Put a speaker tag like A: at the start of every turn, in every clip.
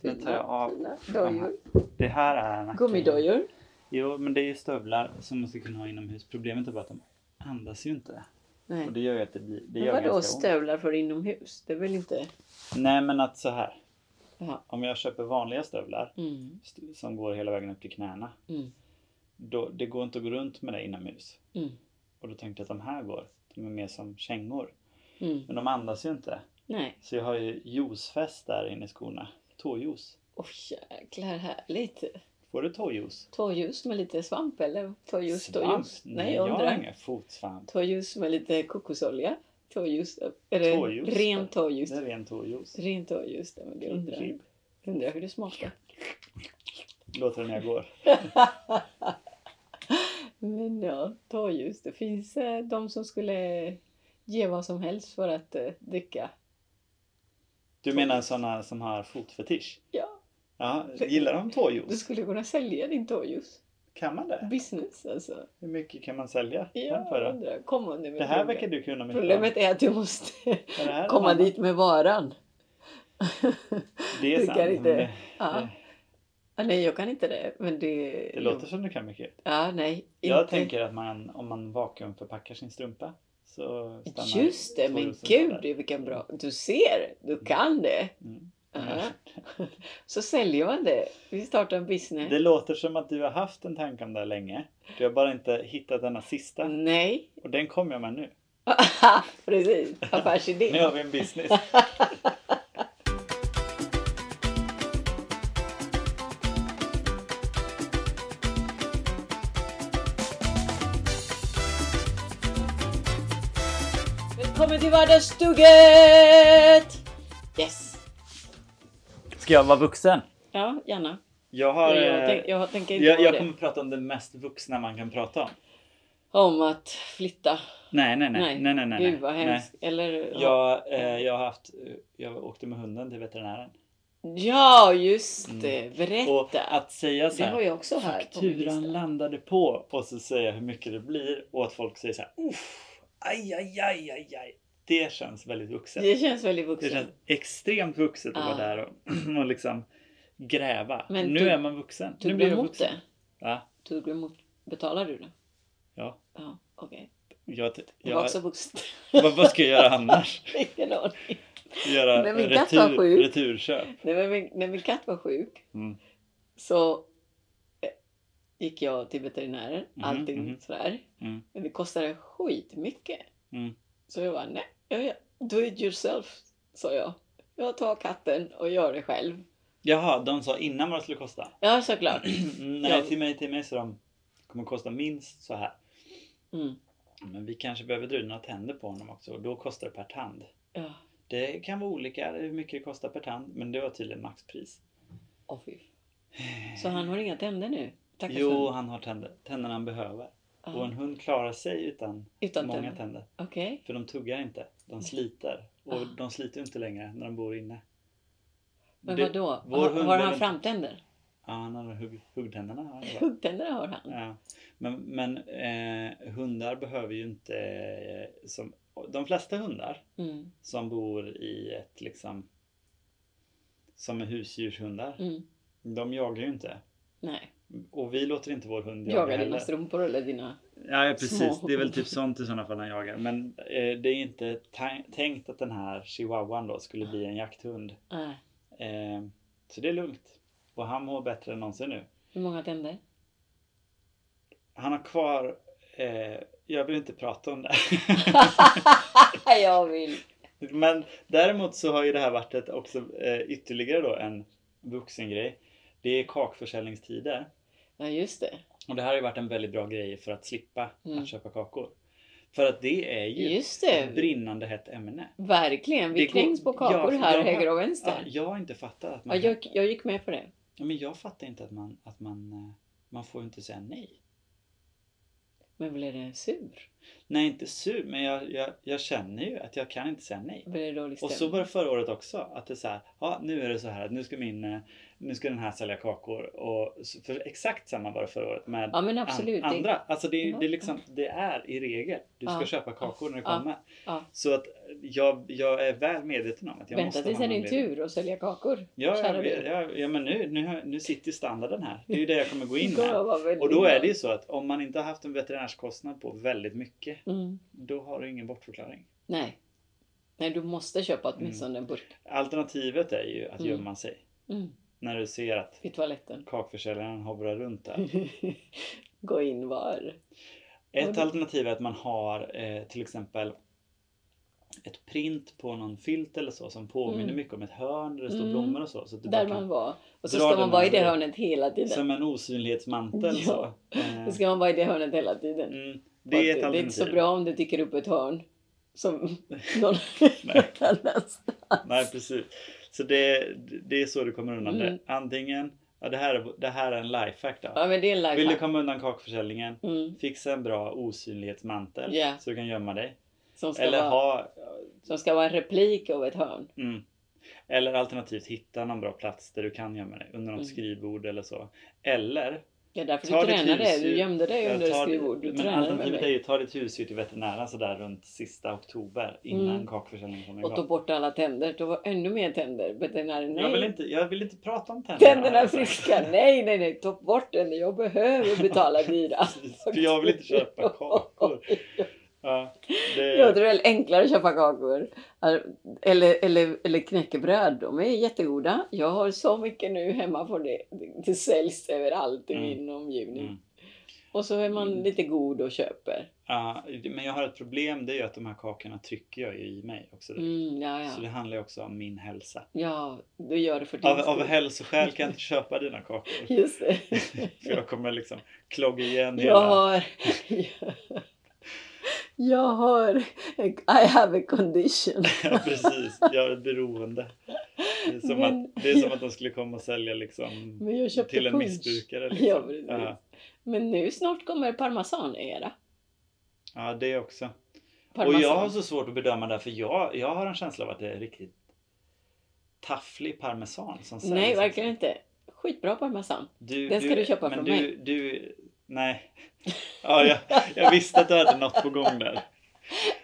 A: Nu tar jag
B: fina,
A: av
B: fina
A: de här.
B: dojor.
A: Det här är nacken.
B: Gummidojor.
A: Jo, men det är ju stövlar som man ska kunna ha inomhus. Problemet är bara att de andas ju inte.
B: Nej.
A: Och det gör ju att det blir... Det
B: Men
A: gör
B: vadå
A: ganska ont.
B: stövlar för inomhus? Det är väl inte...
A: Nej, men att så här.
B: Jaha.
A: Om jag köper vanliga stövlar
B: Mm,
A: st- som går hela vägen upp till knäna.
B: mm,
A: Då, det går inte att gå runt med det inomhus.
B: mm,
A: Och då tänkte jag att de här går. De är mer som kängor.
B: mm.
A: Men de andas ju inte.
B: Nej.
A: Så jag har ju juicefäst där inne i skorna. Tåjuice.
B: Åh jäklar härligt.
A: Får du tåjuice?
B: Tåljus med lite svamp eller? Tåljus, tåljus.
A: Nej,
B: Nej,
A: jag
B: jag
A: har
B: undrar.
A: ingen fotsvamp.
B: Tåljus med lite kokosolja. Tåljus. Är det
A: Tåljus?
B: rent tåljus?
A: Det Typ. är ren tåjuice.
B: Rent tåljus. det- men det Undrar jag.
A: Klipp.
B: undrar hur det smakar.
A: Låter det när jag går.
B: Men ja, tåljus. Det finns eh, de som skulle ge vad som helst för att eh, dricka.
A: Du menar sådana som har fotfetisch?
B: Ja,
A: Ja, gillar de tåjuice?
B: du skulle kunna sälja din tåljus.
A: Kan man det?
B: Business alltså.
A: Hur mycket kan man sälja? den
B: Ja,
A: för då?
B: undrar. Kom under med
A: Det här
B: frågan.
A: verkar du kunna mycket om.
B: Problemet är att du måste
A: Är det här
B: komma
A: samma?
B: dit med varan.
A: Det är
B: Du
A: sant.
B: kan
A: men
B: inte-
A: Det,
B: Ja.
A: det,
B: Ah, nej, jag kan inte det. Men det...
A: det låter som du kan mycket.
B: Ja, nej.
A: Jag
B: inte.
A: tänker att man, om man vakuumförpackar sin strumpa så stannar
B: Just det, men
A: tåjuicen
B: gud
A: där.
B: vilken bra. Du ser, du kan det.
A: Mm.
B: Ja. Så säljer man det. Vi startar en business.
A: Det låter som att du har haft en tanke om det här länge. Du har bara inte hittat denna
B: Mm.
A: sista.
B: Nej.
A: Och den kommer jag med nu.
B: Precis,
A: Nu
B: affärsidé.
A: har vi en business.
B: Välkommen till vardagsstugget! Yes.
A: Ska jag vara vuxen?
B: Ja, gärna.
A: Jag har...
B: jag,
A: eh,
B: tänk, jag tänker inte
A: jag,
B: vara
A: jag
B: det.
A: kommer prata om det mest vuxna man kan prata om.
B: Om att flytta.
A: Nej, nej, nej.
B: Nej.
A: nej, nej, nej, nej.
B: Gud vad hemskt. Eller...
A: Nej. Jag, eh, jag har haft... Jag åkte med hunden till veterinären.
B: Ja, just det.
A: Mm. Och
B: Berätta.
A: att säga så
B: det har
A: här,
B: jag också här på min
A: Fakturan
B: lista.
A: landade på och så säga hur mycket det blir och att folk säger så här Uff, aj, aj, aj, aj, aj. Det känns väldigt vuxet.
B: Det känns väldigt
A: Det
B: vuxet.
A: känns extremt vuxet att
B: Ja.
A: vara där och, och liksom gräva.
B: Men
A: nu
B: du-
A: är man vuxen. nu
B: Tog du
A: blir jag
B: emot
A: vuxen.
B: det?
A: Va?
B: Tog du emot... Betalar du det?
A: Ja.
B: Ja, okej.
A: Jag,
B: Det var
A: jag,
B: också vuxet.
A: vad, vad ska jag göra annars?
B: Ingen aning.
A: Göra
B: Nej, min katt var
A: retur,
B: sjuk.
A: returköp?
B: Nej, men min- När min katt var sjuk
A: Mm.
B: så eh, gick jag till veterinären.
A: Mhm,
B: Allting
A: mhm.
B: sådär.
A: Mm.
B: Men det kostade skitmycket.
A: Mm.
B: Så jag bara, nej, jag, gör- do it yourself, sa jag. Jag tar katten och gör det själv.
A: Jaha, de sa innan vad det skulle kosta? Mm,
B: Ja, såklart.
A: Nej,
B: Ja.
A: till mig, till mig så de kommer kosta minst så här.
B: Mm.
A: Men vi kanske behöver dra ut några tänder på honom också och då kostar det per tand.
B: Ja.
A: Det kan vara olika hur mycket det kostar per tand men det var tydligen maxpris.
B: Åh, fy. Så han har inga tänder nu? Tackars
A: Jo,
B: hund.
A: han har tänder, tänderna han behöver.
B: Ja,
A: Och en hund klarar sig utan,
B: Utan
A: många
B: tänder?
A: tänder.
B: Okej.
A: För de tuggar inte, de sliter. Och
B: Ah.
A: de sliter ju inte längre när de bor inne.
B: Men
A: Det-
B: vadå?
A: vår
B: Har,
A: hund
B: har
A: vill
B: han
A: inte-
B: framtänder?
A: Ja, han har hugg, huggtänderna. har han kvar.
B: Huggtänder har han.
A: Ja. Men, men eh, hundar behöver ju inte... Eh, som, de flesta hundar
B: Mm.
A: som bor i ett liksom... Som är husdjurshundar.
B: Mm.
A: De jagar ju inte.
B: Nej.
A: Och vi låter inte vår hund jaga
B: Jaga dina
A: heller.
B: strumpor eller dina...
A: Ja, ja, precis.
B: små-
A: Det är väl typ sånt i sådana fall han jagar. Men eh, det är inte ta- tänkt att den här chihuahuan då skulle bli en jakthund.
B: Nej.
A: Eh, så det är lugnt. Och han mår bättre än någonsin nu.
B: Hur många tänder?
A: Han har kvar... Eh, jag vill inte prata om det.
B: jag vill.
A: Men däremot så har ju det här varit ett också eh, ytterligare då en vuxengrej. Det är kakförsäljningstider.
B: Ja, just det.
A: Och det här har ju varit en väldigt bra grej för att slippa
B: Mm.
A: att köpa kakor. För att det är ju
B: Just
A: ett
B: det.
A: brinnande hett ämne.
B: Verkligen. Vi
A: Det går-
B: kränks på
A: Ja,
B: kakor
A: för
B: här,
A: jag-
B: höger och
A: Ja,
B: vänster.
A: jag har inte fattat att
B: Ja,
A: man...
B: jag, jag gick med på det.
A: Ja, Men jag fattar inte att man... Att man eh, man får ju inte säga nej.
B: Men blir det sur?
A: Nej, inte sur, men jag, jag, jag känner ju att jag kan inte säga nej.
B: Det blir dålig
A: Och så
B: stämning.
A: var det förra året också. Att det är så här, ja nu är det så här att nu ska min, eh, nu ska den här sälja kakor. Och så- för exakt samma var det förra året med
B: Ja men
A: an-
B: absolut. det-
A: andra. Alltså det,
B: Ja.
A: det, är liksom, det är i regel, du ska
B: Ja.
A: köpa kakor när det
B: Ja.
A: kommer.
B: Ja.
A: Så att jag, jag är väl medveten om att jag
B: Vänta
A: måste
B: tills det
A: ha
B: är
A: någon
B: din
A: ledning.
B: tur att sälja kakor.
A: Ja,
B: kära
A: ja,
B: du.
A: ja, ja, men nu, nu, har- nu sitter ju standarden här. Det är ju det jag kommer gå in
B: Då
A: med.
B: var väl
A: Och då är det ju så att om man inte har haft en veterinärskostnad på väldigt mycket,
B: Mm.
A: då har du ingen bortförklaring.
B: Nej. Nej, du måste köpa
A: Mm.
B: åtminstone en burk.
A: Alternativet är ju att
B: Mm.
A: gömma sig.
B: Mm.
A: När du ser att
B: Vid toaletten.
A: kakförsäljaren hovrar runt
B: Mm.
A: där.
B: Gå in var. Ja,
A: Ett
B: det-
A: alternativ är att man har eh, till exempel ett print på någon filt eller så som påminner
B: Mm.
A: mycket om ett hörn där det står
B: Mm.
A: blommor och så. så att du
B: Där
A: bara
B: man
A: kan,
B: var. Och så
A: dra
B: ska
A: den
B: man vara i det
A: över.
B: hörnet hela tiden.
A: som en osynlighetsmantel.
B: Ja.
A: Så. Eh,
B: Då ska man vara i det hörnet hela tiden.
A: mm,
B: Och
A: det är
B: att
A: ett
B: det är inte så
A: alternativ.
B: bra om det dyker upp ett hörn. Som någon
A: Nej.
B: annanstans.
A: Nej precis. Så det, det är så du kommer undan
B: Mm.
A: det. Antingen, ja, det, här, är- det här är en lifehack då.
B: Ja men det är en
A: Vill du
B: lifehack.
A: komma undan kakförsäljningen?
B: Mm.
A: Fixa en bra osynlighetsmantel
B: Ja.
A: så du kan gömma dig.
B: Som, ska
A: Eller
B: vara,
A: ha...
B: som ska vara en replik av ett hörn.
A: Mm. Eller alternativt hitta någon bra plats där du kan gömma dig. Under något
B: Mm.
A: skrivbord eller så. Eller...
B: Det är därför
A: Ta
B: du
A: ditt
B: tränade. Du
A: husdjur.
B: gömde dig
A: jag
B: under
A: tar-
B: skrivbord. Du
A: men
B: tränade med
A: alternativet är
B: mig.
A: ju ta ditt husdjur till veterinären sådär runt sista oktober. Innan
B: Mm.
A: kakförsäljningen kommer
B: Och tog
A: igång.
B: bort alla tänder. Då var ännu mer tänder. Veterinären, nej.
A: Jag vill, inte, jag vill inte prata om tänderna.
B: Tänderna är friska. Nej, nej, nej. Ta bort den. Jag behöver betala dyra.
A: Precis, För jag vill inte köpa kakor. Ja, det,
B: Jag tror det är enklare att köpa kakor. Eller, eller, eller knäckebröd. De är jättegoda. Jag har så mycket nu hemma på det. Det säljs överallt i
A: Mm.
B: min omgivning.
A: Mm.
B: Och så är man
A: Mm.
B: lite god och köper.
A: ja, men jag har ett problem, det är ju att de här kakorna trycker jag ju i mig också.
B: Mm, ja,
A: Så
B: ja.
A: det handlar ju också om min hälsa.
B: ja, du gör det för din
A: Av, av
B: skull.
A: hälsoskäl kan jag inte köpa dina kakor.
B: Just det.
A: För jag kommer liksom klogga igen
B: Jag
A: hela...
B: har... Jag har... I have a condition.
A: Ja, precis. Jag har ett beroende. Det är, som
B: Men-
A: att, det är som att de skulle komma och sälja liksom
B: Men jag köpte
A: till en
B: punch.
A: missbrukare.
B: Ja,
A: Liksom.
B: precis. Men nu snart kommer parmesan-era.
A: ja, det också. Och
B: Parmesan.
A: jag har så svårt att bedöma det här, för jag, jag har en känsla av att det är riktigt tafflig parmesan som säljs. liksom.
B: Nej, verkligen inte. Skitbra parmesan.
A: Du,
B: Den ska du köpa
A: men
B: från
A: du,
B: mig.
A: Du, nej. Ja, jag, jag visste att du hade något på gång där.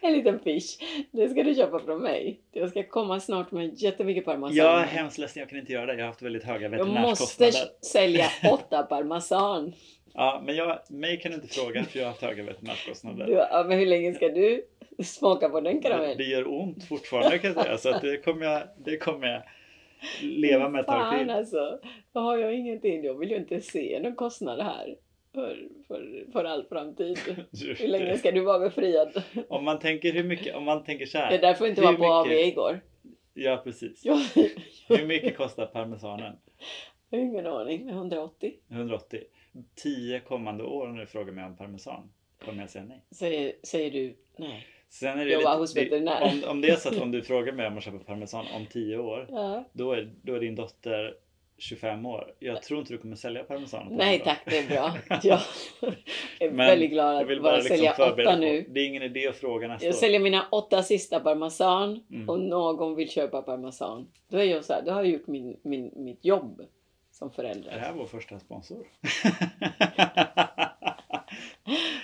B: En liten fish. Det ska du köpa från mig. Jag ska komma snart med jättemycket parmesan.
A: Jag är hemskt ledsen, jag kan inte göra det. Jag har haft väldigt höga
B: jag måste
A: veterinärskostnader.
B: sälja åtta parmesan.
A: Ja, men jag, mig kan du inte fråga för jag har haft höga veterinärkostnader.
B: Du, ja, men hur länge ska du smaka på den
A: Det,
B: karamellen?
A: det gör ont fortfarande kan jag säga, så att det, kommer jag, det kommer jag leva med ett tag
B: Fan
A: till.
B: alltså. Då har jag ingenting. Jag vill ju inte se någon kostnad här. För, för, för all framtid.
A: Du-
B: Hur länge ska du vara befriad?
A: Om man tänker hur mycket, om man tänker så
B: Det är
A: här.
B: därför jag inte
A: Hur
B: var på AV
A: mycket?
B: igår.
A: Ja, precis.
B: Jag
A: Hur mycket kostar parmesanen?
B: har ingen aning. 180.
A: 180. 10 kommande år om du frågar mig om parmesan kommer jag säga nej.
B: Säger, säger du nej.
A: Sen är det ju
B: Jobba
A: lite-
B: hos
A: det-
B: veterinär.
A: om, om det är så att om du frågar mig om att köpa parmesan om 10 år,
B: Ja.
A: då är, då är din dotter 25 år. Jag tror inte du kommer sälja parmesan. på
B: Nej
A: den
B: tack, det är bra. Jag är
A: Men
B: väldigt glad
A: då. Jag
B: att
A: vill
B: bara
A: bara liksom
B: sälja åtta
A: förbereda
B: nu.
A: nu. Det är ingen idé att fråga nästa
B: Jag
A: år.
B: säljer mina åtta sista parmesan
A: Mm.
B: och någon vill köpa parmesan. Då är jag så här, då har jag gjort min, min, mitt jobb som
A: Är det
B: förälder.
A: här vår första sponsor?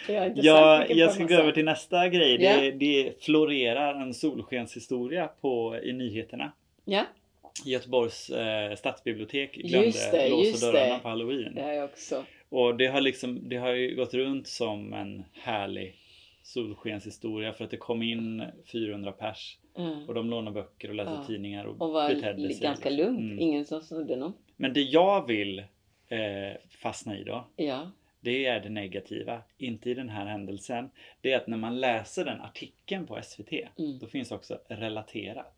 B: Jag, har inte sagt
A: jag,
B: vilken
A: jag ska gå
B: parmesan.
A: över till nästa grej. Det,
B: Ja.
A: det florerar en solskenshistoria på, i nyheterna.
B: Ja,
A: Göteborgs eh, stadsbibliotek
B: Just
A: glömde
B: det, just
A: låsa dörrarna
B: det.
A: på halloween.
B: det har jag också.
A: Och det har, liksom, det har ju gått runt som en härlig solskenshistoria för att det kom in 400 pers
B: Mm.
A: Och de lånar böcker och läser
B: Ja.
A: tidningar och,
B: Och var
A: betedde sig.
B: li- ganska
A: liksom.
B: lugnt.
A: Mm.
B: Ingen som snodde någon.
A: Men det jag vill eh, fastna i då,
B: Ja.
A: det är det negativa. Inte i den här händelsen. Det är att när man läser den artikeln på SVT,
B: Mm.
A: då finns också relaterat.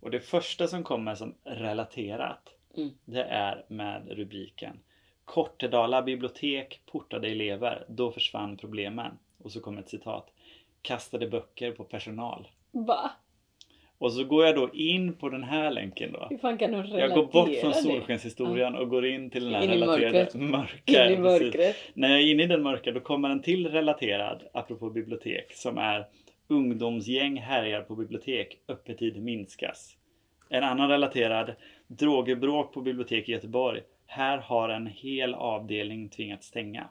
A: Och det första som kommer som relaterat,
B: Mm.
A: det är med rubriken Kortedala bibliotek portade elever, då försvann problemen. Och så kommer ett citat. Kastade böcker på personal.
B: Va?
A: Och så går jag då in på den här länken då.
B: Hur fan kan du relatera
A: Jag går bort från
B: det?
A: solskenshistorien och går in till den här
B: In i
A: relaterade
B: mörkret.
A: mörka.
B: In i
A: precis.
B: mörkret.
A: När jag är inne i den mörka då kommer en till relaterad, apropå bibliotek, som är Ungdomsgäng härjar på bibliotek, öppettid minskas. En annan relaterad, Drogerbråk på bibliotek i Göteborg. Här har en hel avdelning tvingats stänga.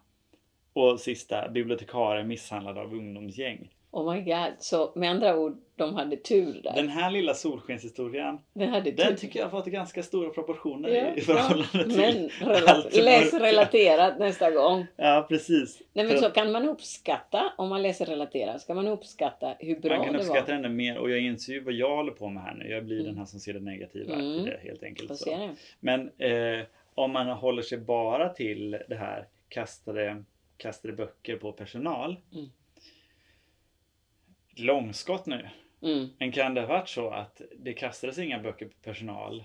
A: Och sista, bibliotekarie misshandlad av ungdomsgäng.
B: Oh my god. Så med andra ord, de hade tur där.
A: Den här lilla solskenshistorien,
B: de hade tur.
A: den tycker jag har fått ganska stora proportioner
B: Ja,
A: i förhållande till
B: Men
A: allt
B: relat-
A: det
B: läs
A: mörka.
B: relaterat nästa gång.
A: Ja, precis.
B: Nej
A: För
B: men så kan man uppskatta, om man läser relaterat, så kan man uppskatta hur bra
A: Man kan
B: det
A: uppskatta
B: var.
A: den ännu mer och jag inser ju vad jag håller på med här nu. Jag blir
B: Mm.
A: den här som ser det negativa i
B: Mm.
A: det alltså. helt enkelt.
B: Får
A: Så.
B: se det.
A: Men eh, om man håller sig bara till det här kastade, kastade böcker på personal.
B: Mm.
A: Långskott nu.
B: Mm.
A: Men kan det ha varit så att det kastades inga böcker på personal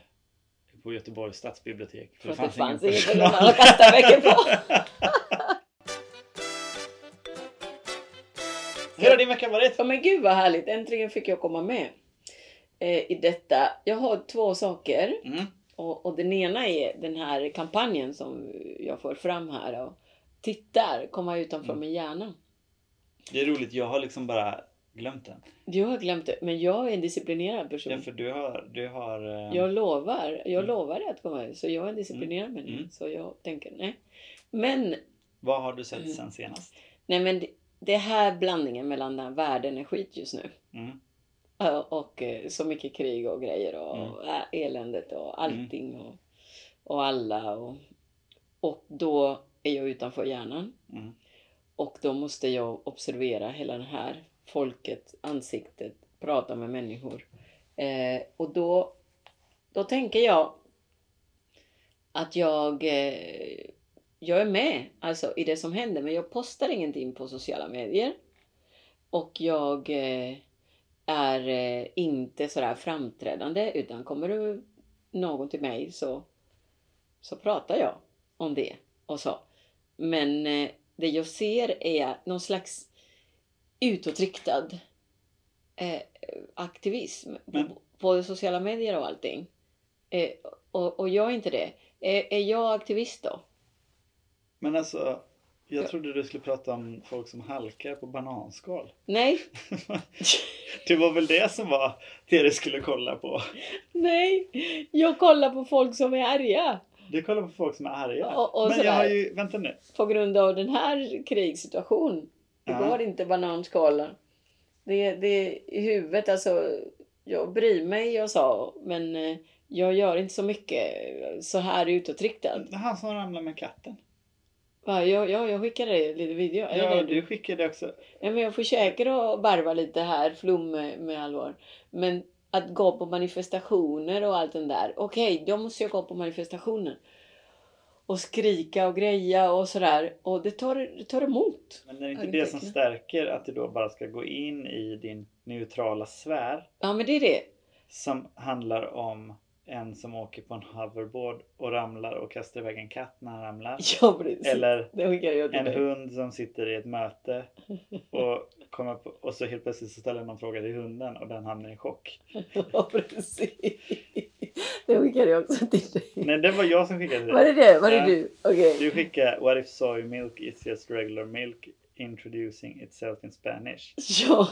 A: på Göteborgs stadsbibliotek?
B: För att det fanns ingen
A: personal.
B: personal att kasta böcker på.
A: Hur har din vecka varit?
B: Ja men gud vad härligt, äntligen fick jag komma med eh, i detta. Jag har två saker.
A: Mm.
B: Och, och den ena är den här kampanjen som jag får fram här. Och tittar, komma utanför
A: Mm.
B: min hjärna.
A: Det är roligt, jag har liksom bara glömt den.
B: Du har glömt det, men jag är en disciplinerad person.
A: Ja, för du har... Du har eh,
B: Jag lovar, jag
A: Mm.
B: lovar dig att komma ut. Så jag är en disciplinerad människa.
A: Mm.
B: Så jag tänker nej. Men,
A: Vad har du sett
B: Mm.
A: sen senast?
B: nej men det- det här blandningen mellan den här världen är skit just nu.
A: Mm.
B: Ja, Och eh, så mycket krig och grejer och
A: Mm.
B: ä- eländet och allting och, och alla. Och, och då är jag utanför hjärnan.
A: Mm.
B: Och då måste jag observera hela det här folket, ansiktet, prata med människor. Eh, och då, då tänker jag att jag, eh, jag är med alltså, i det som händer men jag postar ingenting på sociala medier. Och jag eh, är eh, inte sådär framträdande utan kommer du någon till mig så, så pratar jag om det och så. Men eh, det jag ser är någon slags utåtriktad eh, aktivism
A: Men-
B: på, på sociala medier och allting. Eh, och, och jag är inte det. Eh, Är, är jag aktivist då?
A: Men alltså, jag
B: Ja.
A: trodde du skulle prata om folk som halkar på bananskal.
B: Nej,
A: det var väl det som var det du skulle kolla på?
B: nej. Jag kollar på folk som är arga
A: Du kollar på folk som är arga.
B: Och- och
A: Men jag
B: sådär.
A: har ju... Vänta nu.
B: på grund av den här krigssituationen. Det
A: Ja.
B: går inte bananskalan. Det, det är i huvudet, alltså. Jag bryr mig, jag sa, men eh, jag gör inte så mycket eh, så här utåtriktad.
A: Han som ramlade med katten.
B: Va, Jag, jag, jag skickade dig lite video. Eller
A: Ja,
B: det
A: du skickade också.
B: Ja, men jag försöker att varva lite här, flum med, med allvar. Men att gå på manifestationer och allt den där. Okej, då måste jag gå på manifestationer. Och skrika och greja och sådär. Och det tar, det tar emot.
A: Men är det inte
B: Ja, det
A: det som
B: tycker
A: stärker att du då bara ska gå in i din neutrala sfär
B: Ja, men det är det.
A: som handlar om en som åker på en hoverboard och ramlar och kastar iväg en katt när han ramlar.
B: Ja, precis.
A: Eller
B: Det skickar jag till
A: En
B: dig.
A: hund som sitter i ett möte och, kommer på, och så helt plötsligt så ställer någon fråga till hunden och den hamnar i chock.
B: Ja, precis. Det skickar jag också till dig.
A: Nej, det var jag som skickade
B: Var
A: det.
B: är det? Var är
A: Ja.
B: du? Okej.
A: Du skickade What if soy milk is just regular milk introducing itself in Spanish.
B: Ja,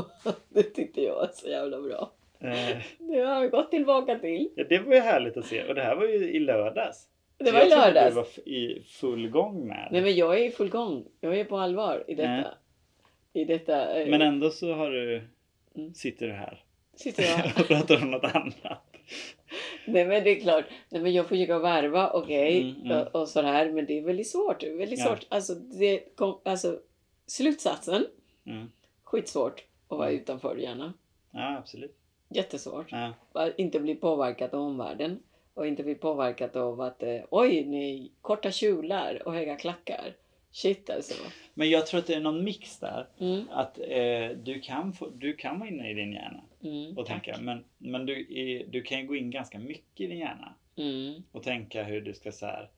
B: det tyckte jag var så jävla bra.
A: Eh,
B: Nu har vi gått tillbaka till.
A: ja, det var ju härligt att se och det här var ju i lördags.
B: Det
A: Så
B: var i
A: jag trodde
B: lördags.
A: Du var f- i full gång med.
B: Nej men jag är i full gång. Jag är på allvar i detta.
A: Nej.
B: I detta eh,
A: Men ändå så har du,
B: Mm.
A: sitter du här
B: sitter jag.
A: och pratar om något annat.
B: Nej men det är klart. Nej men jag försöker varva, okej.
A: Mm, mm.
B: och, och sådär. Men det är väldigt svårt. Det är väldigt
A: Ja.
B: svårt. Alltså, det kom, alltså slutsatsen.
A: Mm.
B: Skitsvårt att vara
A: Mm.
B: utanför gärna.
A: Ja, absolut.
B: Jättesvårt.
A: Ja.
B: Att inte bli påverkad av omvärlden. Och inte bli påverkad av att eh, oj, ni korta kjolar och höga klackar. Shit alltså.
A: Men jag tror att det är någon mix där.
B: Mm,
A: att eh, du, kan få, du kan vara inne i din hjärna
B: mm,
A: och tänka. Men, men du, är, du kan ju gå in ganska mycket i din hjärna
B: mm,
A: och tänka hur du ska så här,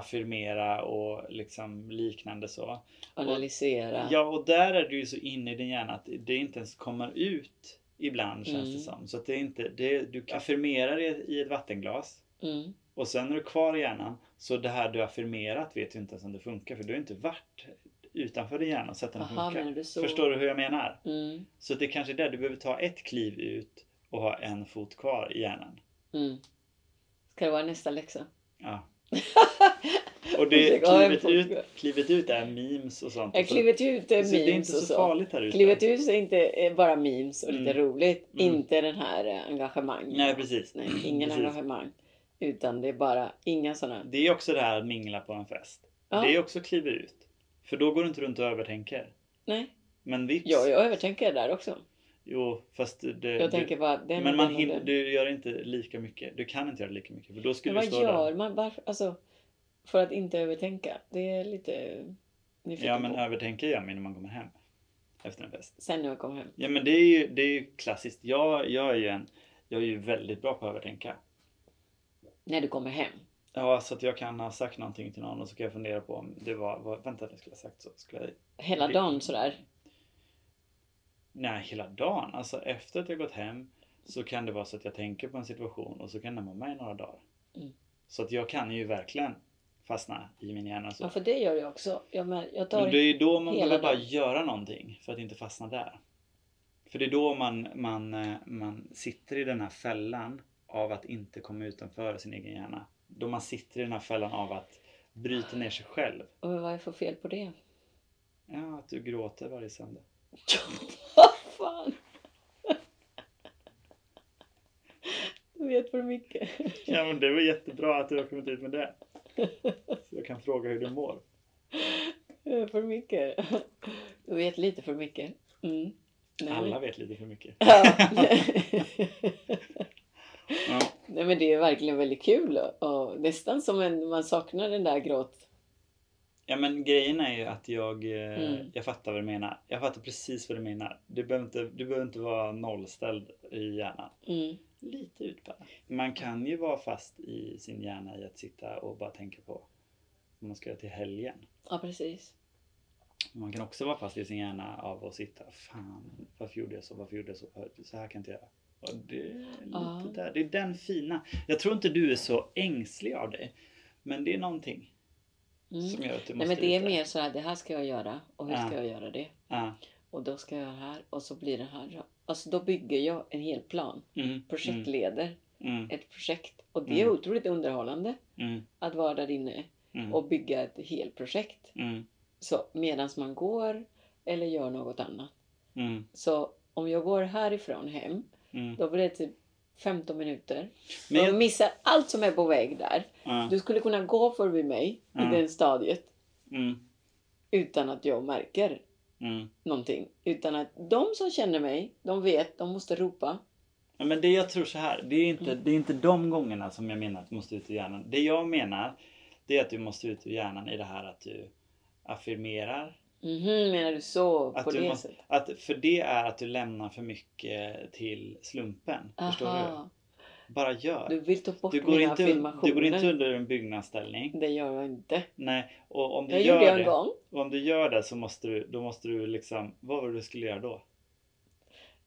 A: affirmera och liksom liknande så.
B: analysera.
A: Ja, och där är du ju så inne i din hjärna att det inte ens kommer ut Ibland känns
B: Mm.
A: det som. Så att det är inte, det, du affirmerar det i ett vattenglas.
B: Mm.
A: Och sen är du kvar i hjärnan. Så det här du affirmerat vet du inte ens om det funkar. För du har inte varit utanför din hjärna och sett om det
B: Aha,
A: funkar.
B: menar du så?
A: Förstår du hur jag menar?
B: Mm.
A: Så det är kanske är där du behöver ta ett kliv ut och ha en fot kvar i hjärnan.
B: Mm. Ska det vara nästa läxa?
A: Ja. Och det
B: Jag har en
A: klivet
B: fot
A: ut,
B: kvar.
A: klivet ut är memes och sånt.
B: Jag klivet ju ut är
A: så det är
B: memes
A: inte
B: och
A: så,
B: så.
A: farligt här ute.
B: Klivet ut är inte eh, bara memes och lite
A: Mm.
B: roligt.
A: Mm.
B: Inte den här eh, engagemang.
A: Nej, precis.
B: Nej, ingen
A: Precis.
B: engagemang. Utan det är bara inga sådana.
A: Det är också det här att mingla på en fest.
B: Ja,
A: Det är också kliver ut. För då går du inte runt och övertänker.
B: nej.
A: Men vips.
B: Ja, jag övertänker där också.
A: Jo, fast det,
B: Jag
A: du,
B: tänker bara den
A: Men man
B: den och
A: hinner,
B: den.
A: du gör inte lika mycket. Du kan inte göra lika mycket. För då
B: Men
A: skulle du
B: vad
A: stå där.
B: gör man? Varför? Alltså, för att inte övertänka. Det är lite nyfiken
A: Ja, men
B: på.
A: övertänker gör man när man kommer hem. Efter en fest.
B: Sen när jag kom hem.
A: Ja men det är ju, det är ju klassiskt. Jag, jag, är ju en, jag är ju väldigt bra på att övertänka.
B: När du kommer hem.
A: Ja, så att jag kan ha sagt någonting till någon och så kan jag fundera på om det var, vad, vänta jag skulle ha sagt så. Skulle jag,
B: Hela
A: Det-
B: dagen sådär.
A: nej, hela dagen. Alltså efter att jag gått hem så kan det vara så att jag tänker på en situation och så kan den vara med i några dagar.
B: Mm.
A: Så att jag kan ju verkligen fastna i min hjärna. Så.
B: Ja, för det gör jag också. Jag, men, jag tar...
A: Men det är ju då man
B: hela
A: behöver bara
B: dagen.
A: göra någonting för att inte fastna där. För det är då man, man, eh, man sitter i den här fällan av att inte komma utanför sin egen hjärna. Då man sitter i den här fällan av att bryta ner sig själv.
B: Och vad är det för fel på det?
A: Ja, att du gråter varje söndag.
B: Vad fan! Du vet för mycket.
A: Ja, men det var jättebra att du har kommit ut med det. Så jag kan fråga hur du mår.
B: Du
A: Eh,
B: vet för mycket. Du vet lite för mycket. Mm. Nej,
A: Alla
B: men-
A: vet lite för mycket.
B: Ja.
A: Ja,
B: Nej men det är verkligen väldigt kul och, och nästan som en, man saknar den där gråt.
A: ja men grejen är ju att jag, eh,
B: Mm.
A: jag fattar vad du menar. Jag fattar precis vad du menar. Du behöver inte, du behöver inte vara nollställd i hjärnan.
B: Mm.
A: Lite utbärd. Man kan ju vara fast i sin hjärna i att sitta och bara tänka på vad man ska göra till helgen.
B: Ja precis.
A: Man kan också vara fast i sin hjärna av att sitta, fan varför gjorde jag så, varför gjorde jag så, så här kan jag inte göra. Och det, är lite
B: Ja.
A: där. det är den fina. Jag tror inte du är så ängslig av dig. Men det är någonting
B: Mm.
A: som gör att du
B: Nej
A: måste
B: men det är
A: ut där.
B: mer så här, det här ska jag göra och hur
A: Ja.
B: ska jag göra det?
A: Ja.
B: Och då ska jag göra det här och så blir det här. Alltså då bygger jag en hel plan.
A: Mm, mm,
B: Projektleder
A: mm,
B: ett projekt. Och det är
A: Mm.
B: otroligt underhållande
A: mm,
B: att vara där inne
A: mm,
B: och bygga ett helprojekt.
A: mm,
B: Så medan man går eller gör något annat.
A: mm,
B: Så om jag går härifrån hem,
A: mm.
B: då blir det typ 15 minuter.
A: Men
B: Men jag
A: jag-
B: missar allt som är på väg där.
A: Ja,
B: Du skulle kunna gå förbi mig
A: Mm.
B: i det stadiet
A: mm,
B: utan att jag märker
A: mm.
B: någonting. Utan att de som känner mig, de vet, de måste ropa.
A: Ja, men det jag tror så här, det är, inte, det är inte de gångerna som jag menar att du måste ut ur hjärnan. Det jag menar, det är att du måste ut ur hjärnan i det här att du affirmerar.
B: Mhm, menar du så?
A: Att
B: på
A: du
B: det
A: måste-
B: sättet?
A: Att, för det är att du lämnar för mycket till slumpen. Förstår du?
B: Aha.
A: Bara gör.
B: Du
A: Du,
B: vill ta bort
A: går,
B: mina
A: inte,
B: filmationer.
A: du går inte under en byggnadsställning.
B: Det gör jag inte.
A: Nej, och om du,
B: Jag gjorde
A: gör
B: jag en
A: det,
B: gång.
A: och om du gör det så måste du, då måste du liksom, vad var det du skulle göra då?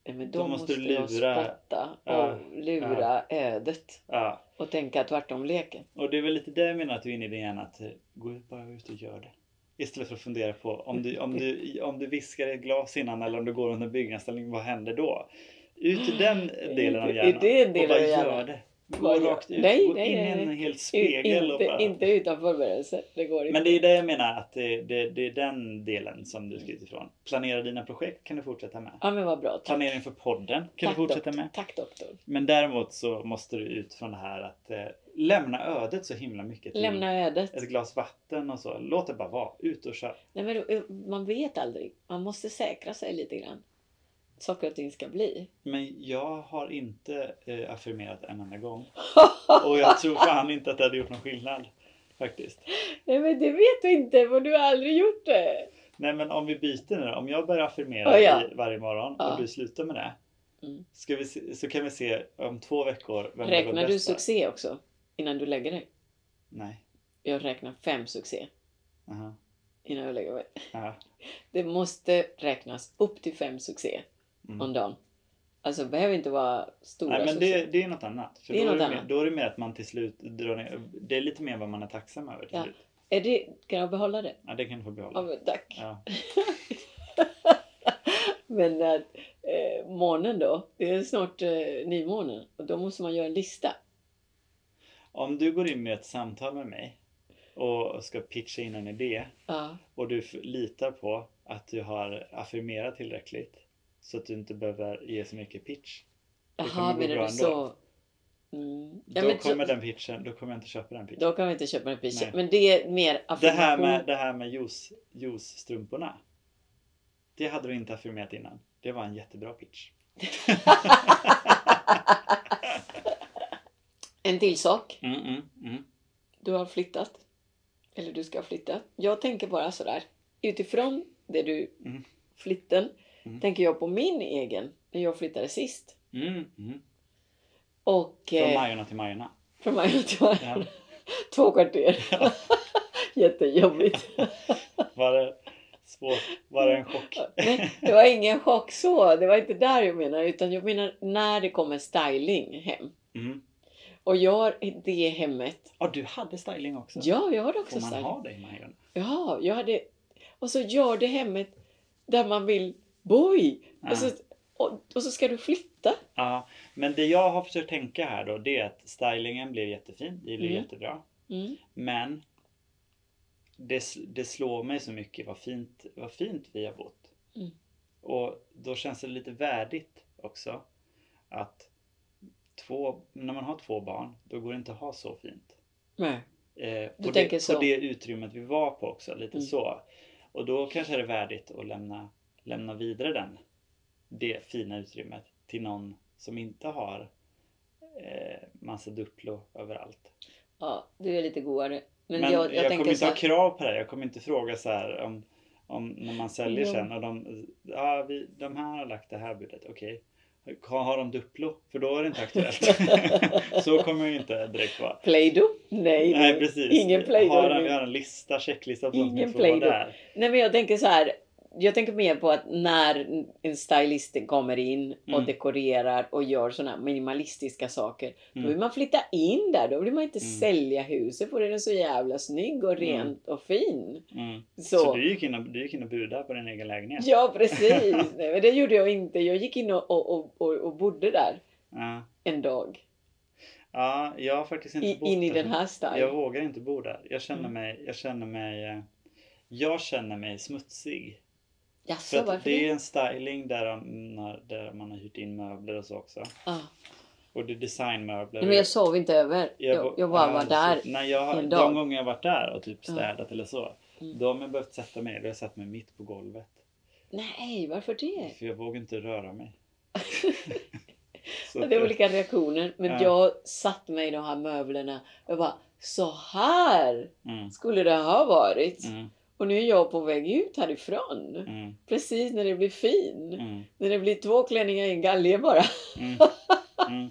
B: Nej, men
A: Då
B: då,
A: måste
B: måste,
A: du
B: jag
A: lura-
B: spotta och
A: Ja,
B: lura ödet
A: Ja.
B: och tänka tvärtom leken.
A: Och det är väl lite det jag menar att du är inne i din hjärna, att eh, gå ut- bara ut och gör det. Istället för att fundera på om du, om du, om du viskar i ett glas innan eller om du går under en byggnadsställning, vad händer då? Ut ur den delen av
B: Ut-
A: hjärnan
B: ut i den
A: och bara
B: delen av hjärnan.
A: gör det. Gå
B: Bara gör-
A: rakt ut,
B: Nej,
A: gå
B: nej,
A: in i
B: nej,
A: en
B: nej.
A: helt
B: U-
A: spegel och
B: Inte,
A: bara...
B: inte utan förberedelse. Det går inte.
A: Men det är det jag menar, att det, det, det är den delen som du ska utifrån. Planera dina projekt kan du fortsätta med.
B: Mm. Ja men vad bra. Tack,
A: Planering för podden kan
B: tack,
A: du fortsätta
B: doktor.
A: med.
B: Tack doktor.
A: Men däremot så måste du ut från det här att eh, lämna ödet så himla mycket till
B: Lämna ödet.
A: ett glas vatten och så. Låt det bara vara. Ut och kör.
B: Nej, men, eh, man vet aldrig. Man måste säkra sig lite grann. Saker och ting ska bli.
A: Men jag har inte eh, affirmerat en enda gång. Och jag tror fan inte att det hade gjort någon skillnad. Faktiskt.
B: Nej men det vet du inte för du har aldrig gjort det.
A: Nej men om vi byter nu då. Om jag börjar
B: Ja,
A: affirmera
B: ja.
A: i, varje morgon
B: Ja.
A: och du slutar med det.
B: Mm.
A: Ska vi se, så kan vi se om två veckor vem det går
B: Räknar du
A: bäst för.
B: succé också? Innan du lägger dig?
A: Nej.
B: Jag räknar fem succé
A: Aha.
B: innan jag lägger mig.
A: Ja.
B: Det måste räknas upp till fem succé
A: Mm.
B: om dagen Alltså behöver inte vara stora
A: Nej men det,
B: succéer.
A: det är något annat. För
B: Det är
A: då,
B: något
A: är det mer,
B: annat.
A: då är det mer att man till slut drar ner. Det är lite mer vad man är tacksam över till
B: Ja.
A: slut.
B: Är det, kan jag behålla det?
A: Ja, det kan du få
B: Ja,
A: behålla.
B: men tack.
A: Ja.
B: Men eh, eh, månen då, det är snart eh, nymånen och då måste man göra en lista.
A: Om du går in i ett samtal med mig och ska pitcha in en idé
B: Ja,
A: och du f- litar på att du har affirmerat tillräckligt så att du inte behöver ge så mycket pitch. Det kommer
B: Jaha,
A: gå
B: menar
A: bra
B: du
A: ändå.
B: så? Mm. Ja,
A: då
B: men så-
A: kommer den pitchen, då kommer jag inte köpa den pitchen.
B: Då kan vi inte köpa en pizza.
A: Nej.
B: Men det är mer
A: Det här
B: affirmation.
A: med, det här med juice- juice-strumporna. Det hade du inte affirmerat innan. Det var en jättebra pitch.
B: En till sak.
A: Mm, mm, mm.
B: Du har flyttat. Eller du ska flytta. Jag tänker bara sådär. Utifrån det du
A: Mm.
B: flytten.
A: Mm.
B: Tänker jag på min egen. När jag flyttade sist.
A: Mm, mm.
B: Och...
A: Från
B: eh,
A: Majorna till Majorna.
B: Från Majorna till Majorna.
A: Ja.
B: Två kvarter.
A: Ja.
B: Jättejobbigt.
A: Var det svårt? Var det en chock?
B: Nej, det var ingen chock så. Det var inte där jag menar. Utan jag menar när det kommer styling hem.
A: Mm.
B: Och jag har det hemmet.
A: Ja, du hade styling också.
B: Ja, jag har också
A: Får man
B: styling.
A: ha det i Majorna?
B: Ja, jag hade... Och så gör det hemmet där man vill bo i.
A: Ja.
B: Och, så, och, och så ska du flytta.
A: Ja, men det jag har försökt tänka här då det är att stylingen blev jättefin, det blev
B: Mm.
A: jättebra. Men det, sl- det slår mig så mycket vad fint, vad fint vi har bott.
B: Mm.
A: Och då känns det lite värdigt också att två, när man har två barn då går det inte att ha så fint.
B: Nej.
A: Eh,
B: Du
A: på,
B: tänker
A: det,
B: så.
A: på det utrymmet vi var på också, lite
B: Mm.
A: så. Och då kanske är det värdigt att lämna, lämna vidare den, det fina utrymmet till någon som inte har eh, massa Duplo överallt.
B: Ja, du är lite godare. Men, jag,
A: Men,
B: jag,
A: kommer
B: tänker
A: inte
B: så
A: ha
B: här,
A: krav på det här. Jag kommer inte fråga så här om, om när man säljer
B: Jo.
A: sen och de, ja, vi, de här har lagt det här budet, okej. Har har de Duplo? För då är det inte aktuellt. så kommer jag ju inte direkt vara.
B: Play-Doh? Nej,
A: Nej precis.
B: ingen
A: har
B: Play-Doh.
A: en,
B: nu.
A: vi har en lista, checklista på
B: Ingen
A: ingen
B: Play-Doh.
A: play där.
B: Nej, men jag tänker så här. Jag tänker mer på att när en stylist kommer in och
A: Mm.
B: dekorerar och gör sådana minimalistiska saker. Då
A: Mm.
B: vill man flytta in där. Då vill man inte
A: Mm.
B: sälja huset för den är så jävla snygg och
A: Mm.
B: rent och fin.
A: Mm.
B: Så,
A: Så. du, gick in och, du gick in och budade på din egen lägenhet?
B: Ja, precis. Nej, men det gjorde jag inte. Jag gick in och, och, och- och, och bodde där
A: Ja.
B: en dag.
A: ja, jag har faktiskt inte
B: I,
A: bott
B: in i
A: där.
B: den här
A: Jag
B: stilen.
A: vågar inte bo där. Jag känner
B: Mm.
A: mig, jag känner mig, eh, jag känner mig smutsig.
B: Jaså,
A: För att
B: varför
A: det
B: det?
A: är en styling där, de- när- där man har hyrt in möbler och så också.
B: Ah.
A: Och det är designmöbler.
B: Nej, men jag sov inte över.
A: Jag
B: Jag,
A: bo-
B: jag bara
A: ja,
B: var där.
A: precis. Nej, jag, har-
B: en dag.
A: de gånger jag varit där och typ
B: Ja.
A: städat eller så.
B: Mm.
A: Då har jag behövt sätta mig, då har jag satt mig mitt på golvet.
B: Nej, varför det?
A: För jag vågar inte röra mig. så
B: Ja,
A: att
B: Det är
A: jag-
B: olika reaktioner. Men
A: Ja.
B: jag satt mig i de här möblerna. Jag bara, så här
A: mm,
B: skulle det ha varit.
A: mm,
B: Och nu är jag på väg ut härifrån.
A: mm,
B: Precis när det blir fin.
A: mm,
B: När det blir två klänningar i en galge bara.
A: mm, mm.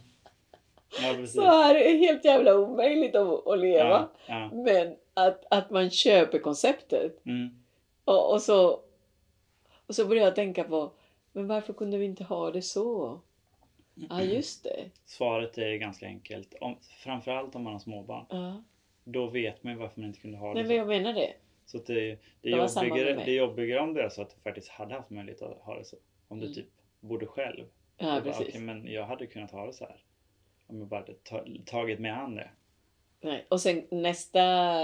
A: Ja, precis.
B: Så här är helt jävla omöjligt att, att leva.
A: Ja, ja,
B: Men att, att man köper konceptet.
A: mm,
B: Och, och, så, och så började jag tänka på, men varför kunde vi inte ha det så? Ja,
A: Mm.
B: just det.
A: Svaret är ganska enkelt. Om, framförallt om man har småbarn.
B: Ja.
A: Då vet man ju varför man inte kunde ha det
B: Nej,
A: så.
B: men jag menar det.
A: Så att det, det,
B: Det var samma med
A: jobbigare,
B: mig.
A: det är jobbigare om det är så att du faktiskt hade haft möjlighet att ha det så. Om du
B: Mm.
A: typ bodde själv.
B: Ja,
A: Och bara,
B: precis.
A: "Okej, men jag hade kunnat ha det så här. Om jag bara hade ta, tagit mig an det.
B: Nej. Och sen nästa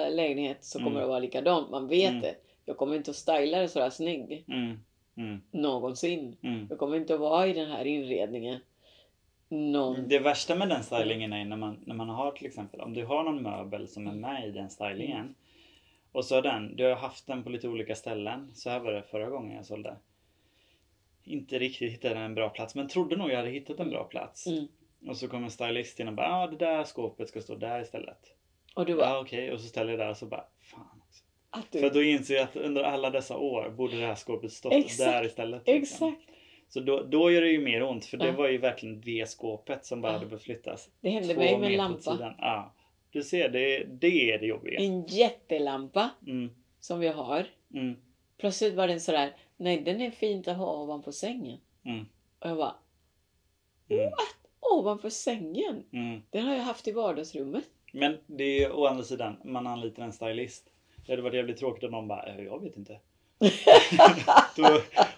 B: lägenhet så kommer
A: Mm.
B: det vara likadant. Man vet
A: Mm.
B: det. Jag kommer inte att styla det sådär snygg
A: Mm, mm,
B: någonsin.
A: mm.
B: Jag kommer inte att vara i den här inredningen. Någon...
A: Det värsta med den stylingen är när man, när man har till exempel, om du har någon möbel som är med i den stylingen. Och så har den, du har haft den på lite olika ställen. Så här var det förra gången jag sålde. Inte riktigt hittade en bra plats men trodde nog jag hade hittat en bra plats.
B: Mm.
A: Och så kommer stylisten och bara, ja ah, det där skåpet ska stå där istället.
B: Och du bara,
A: Ja okej, och så ställer jag det där och så bara fan. också.
B: att
A: För
B: du...
A: då inser jag att under alla dessa år borde det här skåpet stått
B: Exakt,
A: där istället. liksom.
B: Exakt.
A: Så då, då gör det ju mer ont för det
B: Ja.
A: var ju verkligen det skåpet som bara
B: Ja.
A: hade behövt flyttas.
B: Det hände
A: Två
B: mig med
A: meter
B: en
A: åt
B: lampa.
A: sidan. Ja. Du ser, det, det är det jobbiga.
B: En jättelampa
A: Mm,
B: som vi har.
A: mm,
B: Plötsligt var den sådär, nej den är fint att ha ovanpå sängen.
A: mm.
B: Och jag bara,
A: Mm.
B: ovanför sängen.
A: Mm.
B: Den har jag haft i vardagsrummet.
A: Men det är å andra sidan, man anlitar en stylist. Det hade varit jävligt tråkigt om någon bara, "Eh, jag vet inte. Då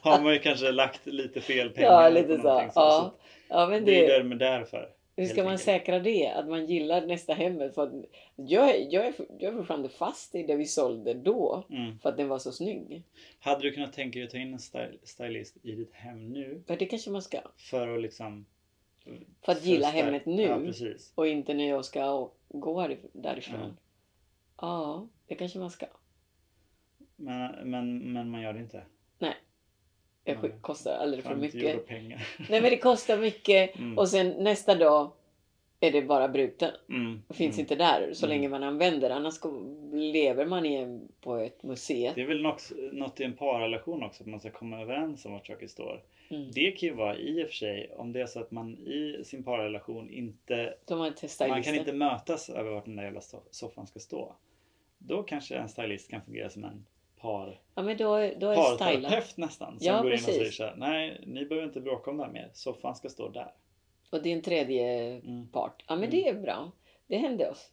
A: har man ju kanske lagt lite fel pengar.
B: Ja,
A: på
B: lite så.
A: någonting
B: Ja. ja,
A: så
B: men
A: det är
B: det,
A: där med därför.
B: hur
A: helt
B: ska man
A: enkelt.
B: säkra det? Att man gillar nästa hemmet? För att jag, är- jag, är, for- jag är fortfarande fast i det vi sålde då.
A: Mm.
B: För att den var så snygg.
A: Hade du kunnat tänka dig att ta in en styl- stylist i ditt hem nu?
B: Men det kanske man ska.
A: För att liksom...
B: För att gilla
A: förstärka-
B: hemmet nu.
A: Ja, precis.
B: Och inte när jag ska å- gå härif- därifrån.
A: Mm.
B: Ja, det kanske man ska.
A: Men, men, men man gör det inte.
B: Det
A: Mm.
B: sk- kostar alldeles för
A: 50 euro
B: mycket.
A: pengar.
B: Nej men det kostar mycket
A: Mm.
B: och sen nästa dag är det bara bruten.
A: Mm.
B: Det finns
A: mm.
B: inte där så
A: Mm.
B: länge man använder det. Annars går- lever man i en, på ett museum.
A: Det är väl något, något i en parrelation också, att man ska komma överens om vart saker står.
B: Mm.
A: Det kan ju vara i och för sig, om det är så att man i sin parrelation inte
B: De har inte stylisten.
A: Man kan inte mötas över vart den där jävla so- soffan ska stå. Då kanske en stylist kan fungera som en par,
B: Ja men då, är- då är det stylat.
A: parterapeut nästan. Som
B: Ja,
A: går in och
B: precis.
A: säger så här, nej ni behöver inte bråka om det här mer. Soffan ska stå där.
B: Och det är en tredje
A: Mm.
B: part. Ja men
A: Mm.
B: det är bra. Det hände oss.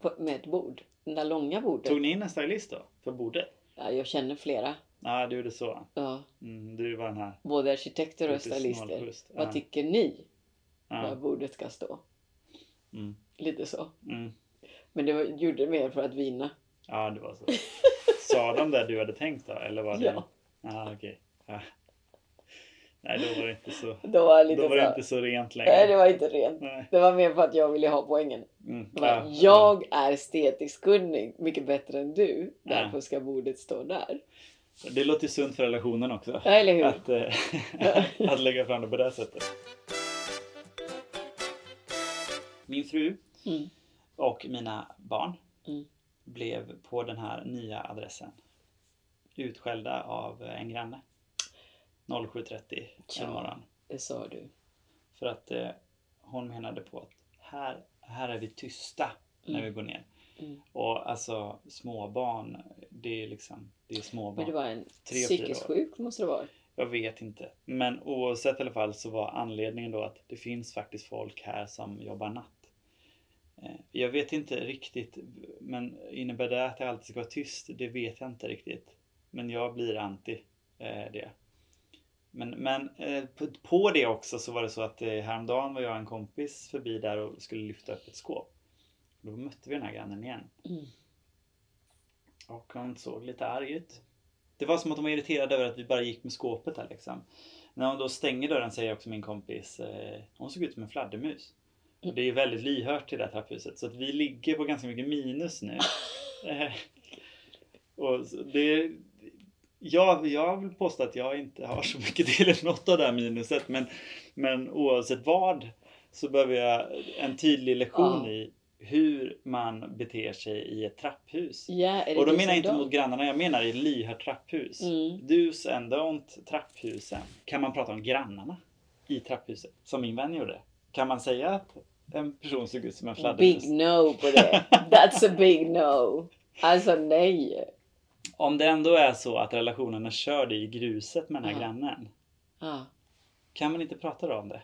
B: På, med ett bord. Det där långa bordet.
A: Tog ni in en stylist då? För bordet?
B: Ja, jag känner flera.
A: Nej, du gjorde så.
B: Ja,
A: Mm, du var den här.
B: både arkitekter och
A: lite
B: stylister.
A: snålskjuts.
B: Vad
A: Ja,
B: tycker ni? Var
A: ja,
B: bordet ska stå.
A: mm,
B: Lite så.
A: mm.
B: Men det var, gjorde mer för att vinna.
A: ja, det var så. Sa de det du hade tänkt då? Eller var det?
B: Ja.
A: Ah, okej. ja. Nej, då var det inte så.
B: Då var det lite
A: Då var
B: så.
A: det inte så rent längre.
B: Nej, det var inte rent.
A: Nej.
B: Det var mer för att jag ville ha poängen.
A: Mm,
B: Det var,
A: ja, ja.
B: jag är estetiskt kunnig, mycket bättre än du.
A: Ja.
B: Därför ska bordet stå där.
A: Det låter ju sunt för relationen också.
B: Ja, eller hur?
A: Att, eh, att lägga fram det på det sättet. Min fru
B: Mm.
A: och mina barn
B: Mm.
A: blev på den här nya adressen utskällda av en granne. 07.30
B: Tja.
A: en morgon.
B: Det sa du.
A: För att eh, hon menade på att här, här är vi tysta när
B: Mm.
A: vi går ner.
B: Mm.
A: Och alltså småbarn, det är liksom, det är småbarn.
B: Men det var en
A: Tre,
B: psykisk
A: fyra år.
B: sjuk måste det vara.
A: Jag vet inte. Men oavsett i alla fall så var anledningen då att det finns faktiskt folk här som jobbar natt. Eh, Jag vet inte riktigt, men innebär det att jag alltid ska vara tyst? Det vet jag inte riktigt. Men jag blir anti eh, det. Men, men eh, på, på det också så var det så att eh, häromdagen var jag och en kompis förbi där och skulle lyfta upp ett skåp. Då mötte vi den här grannen igen.
B: Mm.
A: Och han såg lite arg ut. Det var som att de var irriterade över att vi bara gick med skåpet där liksom. När hon då stänger dörren säger också min kompis, eh, hon såg ut som en fladdermus. Och det är väldigt lyhört i det här trapphuset så att vi ligger på ganska mycket minus nu. Eh, och så det, jag, jag vill påstå att jag inte har så mycket del i något av det här minuset men, men oavsett vad så behöver jag en tydlig lektion
B: Ja.
A: i hur man beter sig i ett trapphus.
B: Ja, är det
A: Och då
B: du
A: menar
B: som
A: jag inte
B: dom?
A: mot grannarna, jag menar i lyhört trapphus.
B: Mm.
A: Do's and don't trapphusen. Kan man prata om grannarna i trapphuset? Som min vän gjorde. Kan man säga att en person såg ut som en fladdermus?
B: Big no på det. That's a big no. Alltså nej.
A: Om det ändå är så att relationen är körd i gruset med den här
B: Ja.
A: grannen. Ah.
B: Ja.
A: Kan man inte prata då om det?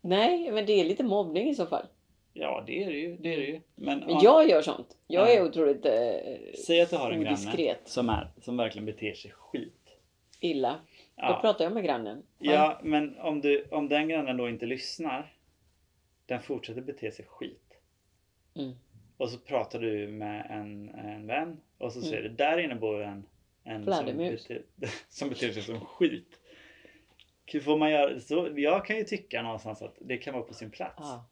B: Nej, men det är lite mobbning i så fall.
A: Ja, det är det ju. Det är det ju. Men,
B: Men
A: om-
B: jag gör sånt. Jag
A: Ja.
B: är otroligt eh,
A: Säg att du har en granne
B: Indiskret.
A: som, är, som verkligen beter sig skit.
B: illa. Då pratar jag med grannen.
A: Ja, men om, du, om den grannen då inte lyssnar, den fortsätter bete sig skit.
B: Mm.
A: Och så pratar du med en, en vän och så
B: Mm.
A: säger du, där inne bor en, en som,
B: Fladdermus."
A: bete, som beter sig som skit. Hur Får man göra, så, jag kan ju tycka någonstans att det kan vara på sin plats.
B: Ja.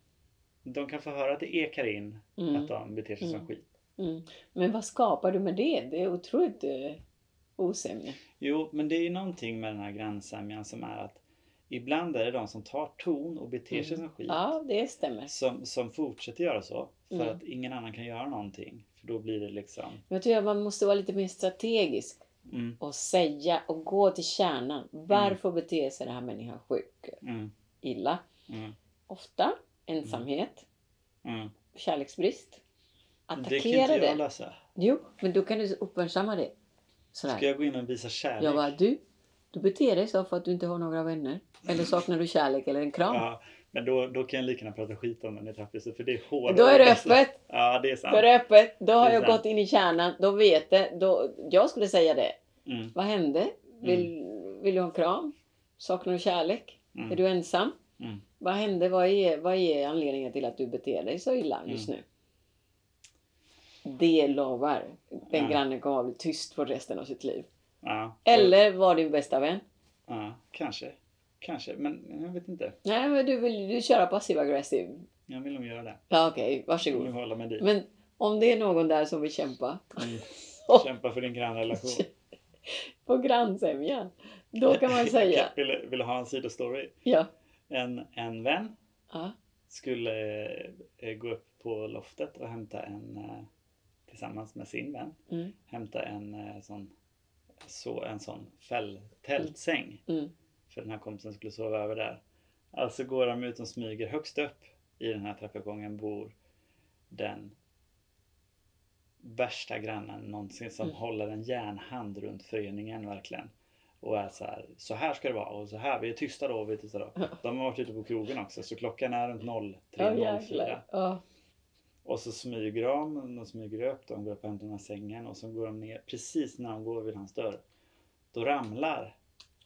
A: De kan få höra att det ekar in
B: Mm.
A: att de beter sig som
B: Mm.
A: skit.
B: Mm. Men vad skapar du med det? Det är otroligt eh, osämja.
A: Jo, men det är ju någonting med den här grannsämjan som är att ibland är det de som tar ton och beter sig som skit.
B: Mm. Ja, det stämmer.
A: som, som fortsätter göra så för
B: Mm.
A: att ingen annan kan göra någonting. För då blir det liksom...
B: Men jag tror att man måste vara lite mer strategisk
A: Mm,
B: och säga och gå till kärnan. Varför beter sig den här människan sjuk?
A: mm,
B: Illa?
A: mm,
B: Ofta ensamhet,
A: mm.
B: kärleksbrist.
A: Det kan inte
B: Attackera
A: jag
B: det.
A: lösa.
B: Jo, men då kan du uppmärksamma det. Sådär.
A: Ska jag gå in och visa kärlek?
B: Jag bara, du, Du beter dig så för att du inte har några vänner. Eller saknar du kärlek eller en kram.
A: Ja, men då, då kan jag lika gärna prata skit om en i trapphuset för det är hårdare.
B: Då är det öppet.
A: Ja, det är sant.
B: Då är det öppet. Då har
A: Det är
B: jag
A: sant.
B: gått in i kärnan. Då vet det. Då, jag skulle säga det.
A: Mm,
B: Vad hände? Vill, vill du ha en kram? Saknar du kärlek?
A: mm,
B: Är du ensam?
A: mm.
B: Vad hände? Vad är, vad är anledningen till att du beter dig så illa just
A: Mm.
B: nu? Det lovar den
A: Ja.
B: grannen kommer att bli tyst för resten av sitt liv.
A: Ja,
B: Eller var din bästa vän.
A: ja, kanske. Kanske, men jag vet inte.
B: Nej, men du vill du köra passiv aggressiv.
A: Jag vill nog göra det.
B: Ja, okej,
A: Jag vill nog
B: varsågod.
A: hålla mig dit.
B: Men om det är någon där som vill kämpa
A: Mm.
B: Åh.
A: Kämpa för din grannrelation.
B: på grannsämjan, då kan man säga
A: Jag vill, vill ha en sidostory.
B: ja.
A: En, en vän
B: ja.
A: skulle eh, gå upp på loftet och hämta en, eh, tillsammans med sin vän,
B: Mm,
A: hämta en eh, sån, så, en sån fäll, tältsäng.
B: mm,
A: För den här kompisen skulle sova över där. Alltså går de ut och smyger högst upp i den här trappuppgången bor den värsta grannen någonsin som
B: Mm.
A: håller en järnhand runt föreningen verkligen. Och är så här, så här ska det vara och så här, vi är tysta då och vi är tysta då.
B: Ja.
A: De har varit ute på krogen också så klockan är runt 03.04.
B: Ja, jäklar. Ja.
A: Och så smyger de, de smyger upp, de går upp och hämtar den här sängen och så går de ner precis när de går vid hans dörr. Då ramlar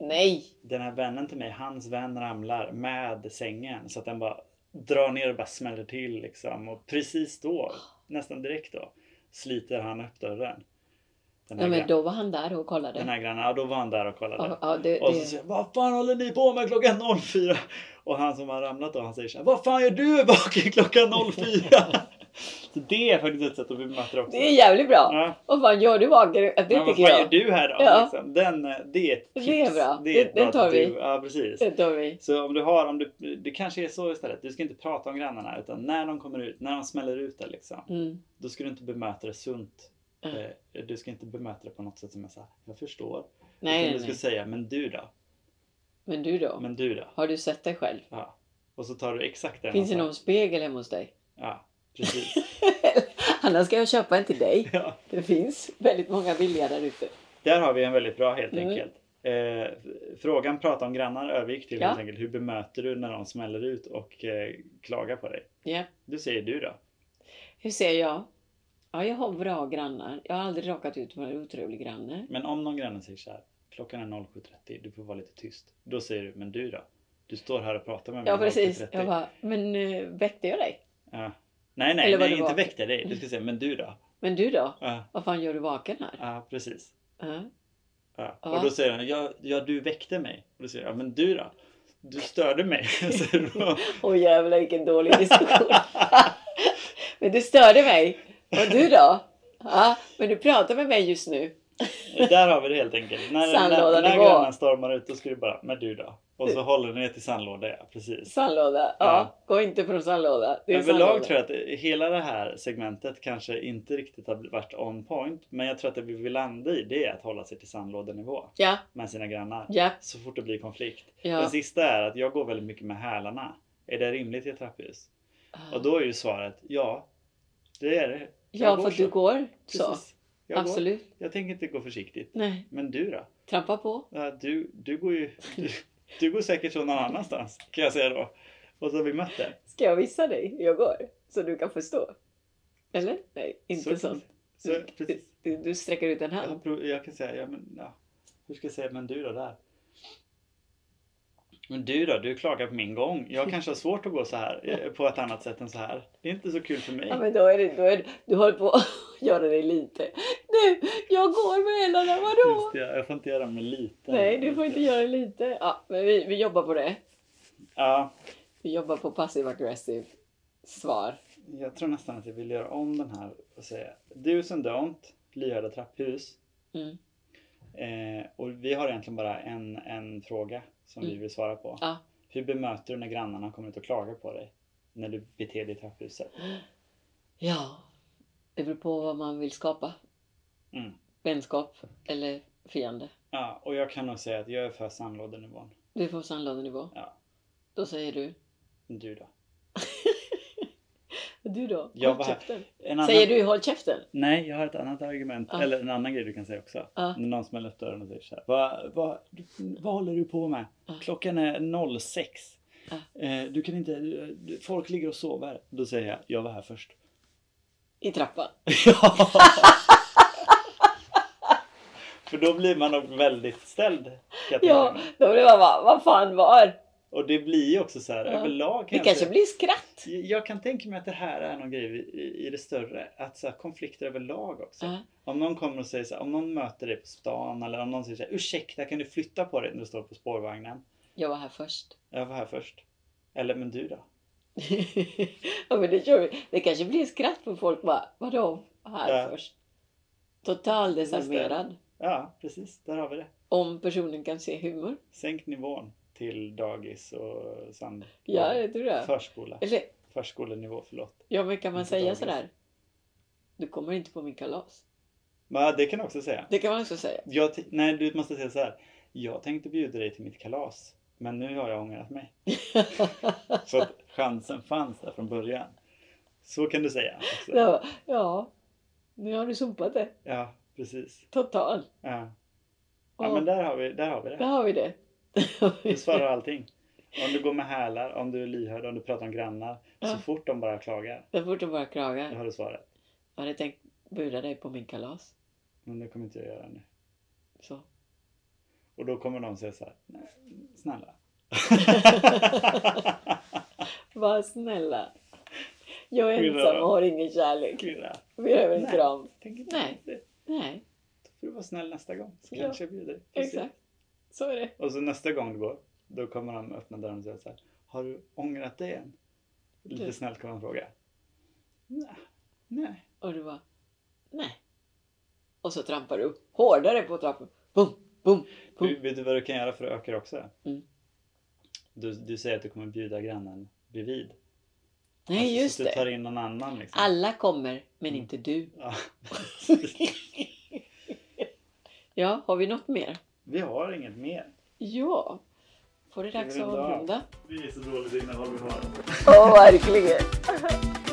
B: Nej!
A: den här vännen till mig, hans vän ramlar med sängen så att den bara drar ner och bara smäller till liksom. Och precis då, nästan direkt då, sliter han upp dörren. Den här,
B: Ja, men
A: gra-
B: då var han där och kollade.
A: den här grannen, ja då var han där och kollade.
B: ja, ja, det,
A: Och så
B: det.
A: säger jag, vad fan håller ni på med klockan 04? Och han som har ramlat då, han säger så här, vad fan gör du vaken klockan 04? så det är faktiskt ett sätt att bemöta det också.
B: det är jävligt bra.
A: ja.
B: Vad fan gör du vaken? Det
A: Ja, vad
B: tycker
A: fan gör
B: jag.
A: du här då?
B: Ja.
A: Liksom. Den, eh, det är ett
B: Det är
A: tips.
B: bra.
A: är
B: Den-
A: ett
B: den
A: bra
B: tar vi.
A: tips. Ja, precis.
B: Det tar vi.
A: Så om du har, om du, det kanske är så istället. Du ska inte prata om grannarna utan när de kommer ut, när de smäller ut det liksom.
B: Mm.
A: Då ska du inte bemöta det sunt.
B: Mm.
A: Eh, Du ska inte bemöta det på något sätt som är såhär, jag förstår.
B: Nej,
A: utan
B: nej,
A: du ska
B: nej.
A: säga, men du då?
B: Men du då?
A: Men du då?
B: Har du sett dig själv?
A: Ja. Och så tar du exakt den.
B: Finns det
A: och så-
B: någon spegel hemma hos dig?
A: Ja, precis.
B: Annars ska jag köpa en till dig.
A: ja.
B: Det finns väldigt många billiga där ute.
A: Där har vi en väldigt bra helt
B: Mm.
A: enkelt. Eh, f- frågan prata om grannar övergick till
B: Ja.
A: helt enkelt, hur bemöter du när de smäller ut och eh, klagar på dig?
B: Ja.
A: Du säger du då?
B: Hur ser jag? Ja, jag har bra grannar. Jag har aldrig råkat ut för en otrolig granne.
A: Men om någon granne säger så här, klockan är 07.30, du får vara lite tyst. Då säger du, men du då? Du står här och pratar med mig
B: Ja,
A: om
B: precis.
A: 07.30."
B: Jag bara, men eh, väckte jag dig?
A: ja. Nej, nej,
B: Eller vad
A: nej
B: det
A: inte
B: var.
A: väckte dig. Du ska säga, men du då?
B: Men du då?
A: Ja,
B: Vad fan gör du vaken här?
A: ja precis.
B: Ja.
A: Ja.
B: Ja.
A: Och då säger han, ja, ja du väckte mig. Och då säger jag, men du då? Du störde mig. säger du då.
B: Åh jävlar vilken dålig diskussion. men du störde mig. Och du då? Ja, men du pratar med mig just nu.
A: Där har vi det helt enkelt. När, när,
B: Sandlådan
A: när
B: nivå.
A: grannen stormar ut, då ska du bara, men du då? Och så håller ni er till sandlåda, ja precis.
B: Sandlåda. Ja,
A: Ja.
B: gå inte från sandlåda. Det är
A: Överlag
B: sandlåda.
A: tror jag att hela det här segmentet kanske inte riktigt har varit on point. Men jag tror att det vi vill landa i det är att hålla sig till sandlådenivå
B: Ja,
A: med sina grannar.
B: ja,
A: Så fort det blir konflikt.
B: ja.
A: Den sista är att jag går väldigt mycket med hälarna. Är det rimligt i ett trapphus? Och då är ju svaret ja. Det är det.
B: ja, för att du
A: så.
B: går så.
A: Precis. Jag Absolut.
B: Absolut.
A: Går. Jag tänker inte gå försiktigt.
B: Nej,
A: Men du då?
B: trampa på.
A: Ja, Du, du går ju... Du, du går säkert så någon annanstans kan jag säga då. Och så har vi mött det.
B: Ska jag visa dig hur jag går? Så du kan förstå? Eller? Nej, inte så.
A: så precis.
B: Du, du sträcker ut en
A: Jag, har
B: hand.
A: prov- jag kan säga, ja men ja. Hur ska jag säga, men du då där? Men du då, du klagar på min gång. Jag kanske har svårt att gå så här eh, på ett annat sätt än så här. Det är inte så kul för mig.
B: Ja, men då är det, då är det, du håller på att göra dig lite. Du, jag går med hela vadå?
A: Just det, jag får inte göra mig lite.
B: Nej, du får inte göra dig lite. Ja, men vi, vi jobbar på det.
A: Ja,
B: Vi jobbar på passive aggressive svar.
A: jag tror nästan att jag vill göra om den här och säga du som don't, lyhörda trapphus.
B: Mm.
A: Eh, och vi har egentligen bara en, en fråga som vi
B: Mm.
A: vill svara på.
B: Ja.
A: Hur bemöter du när grannarna kommer ut och klagar på dig? När du beter dig i trapphuset?
B: Ja, det beror på vad man vill skapa.
A: Mm.
B: Vänskap eller fiende.
A: Ja, och jag kan nog säga att jag är för sandlådenivån.
B: Du får sandlådenivå.
A: Ja.
B: Då säger du,
A: Du då?
B: Du då?
A: Jag
B: Håll
A: bara-
B: käften.
A: En annan...
B: Säger du håll käften?
A: Nej, jag har ett annat argument.
B: Ja.
A: Eller en annan grej du kan säga också.
B: Ja.
A: När någon smäller upp dörren och säger så här. Vad, vad, vad håller du på med?
B: Ja.
A: Klockan är 06.
B: Ja.
A: Eh, Du kan inte... du- Folk ligger och sover. Då säger jag, jag var här först.
B: I trappan?
A: Ja. För då blir man nog väldigt ställd. kan jag tänka
B: Ja,
A: mig.
B: då blir man bara, vad fan var?
A: Och det blir ju också så här
B: Ja.
A: överlag
B: Det kanske blir skratt.
A: Jag kan tänka mig att det här är någon grej i- i, i det större. Att så här, konflikter överlag också.
B: Ja.
A: Om någon kommer och säger så här, om någon möter dig på stan eller om någon säger så här, ursäkta kan du flytta på dig när du står på spårvagnen?
B: Jag var här först.
A: Jag var här först. Eller men du då?
B: ja, men det, kör vi. det kanske blir skratt på folk bara, vadå? Här
A: Ja.
B: först. Totaldesarmerad.
A: Ja, precis. Där har vi det.
B: Om personen kan se humor.
A: Sänk nivån till dagis och sand.
B: Ja, det tror jag.
A: Förskola.
B: Eller,
A: Förskolenivå, förlåt.
B: ja, men kan man
A: Inte
B: säga
A: dagis.
B: sådär? Du kommer inte på min kalas.
A: Men ja, det kan jag också säga.
B: Det kan man också säga.
A: Jag, t- nej, du måste säga så här. Jag tänkte bjuda dig till mitt kalas. Men nu har jag ångrat mig. Så att chansen fanns där från början. Så kan du säga. också.
B: ja, ja, nu har du sopat det.
A: Ja, precis.
B: Total.
A: Ja.
B: Ja.
A: Ja, men där har vi, där har vi det.
B: Där har vi det.
A: Du svarar allting. Om du går med hälar, om du är lyhörd, om du pratar om grannar.
B: Ja.
A: Så fort de bara klagar,
B: Jag borde bara
A: då
B: klaga.
A: har du svaret.
B: Jag hade tänkt bjuda dig på min kalas.
A: Men det kommer inte jag göra nu.
B: Så.
A: Och då kommer de säga så här, "Nej, snälla.
B: Var snälla. Jag är
A: Skynda
B: ensam
A: dig.
B: och har ingen kärlek.
A: Kira,
B: Vi behöver en
A: Nej.
B: kram.
A: tänk inte
B: Nej.
A: på det.
B: Nej,
A: Då får du vara snäll nästa gång. Så
B: Ja.
A: kanske jag bjuder dig. Får se.
B: exakt. Så är det.
A: Och så nästa gång du går, då kommer de öppna dörren och säga så här, har du ångrat dig än? Lite
B: Du.
A: snällt kommer de fråga. Nej. Nej.
B: Och du bara, nej. Och så trampar du hårdare på trappan. Bum, bum,
A: Du,
B: bum.
A: vet du vad du kan göra för att öka det också?
B: Mm.
A: Du, du säger att du kommer bjuda grannen bredvid.
B: Nej,
A: Alltså,
B: just
A: så att du tar
B: det.
A: in någon annan liksom.
B: Alla kommer, men
A: Mm.
B: inte du.
A: Ja.
B: Ja, har vi något mer?
A: Vi har inget mer.
B: Ja. Får det dags att
A: runda av?
B: avrunda.
A: Vi är så dåligt innehåll vi har.
B: Ja, verkligen.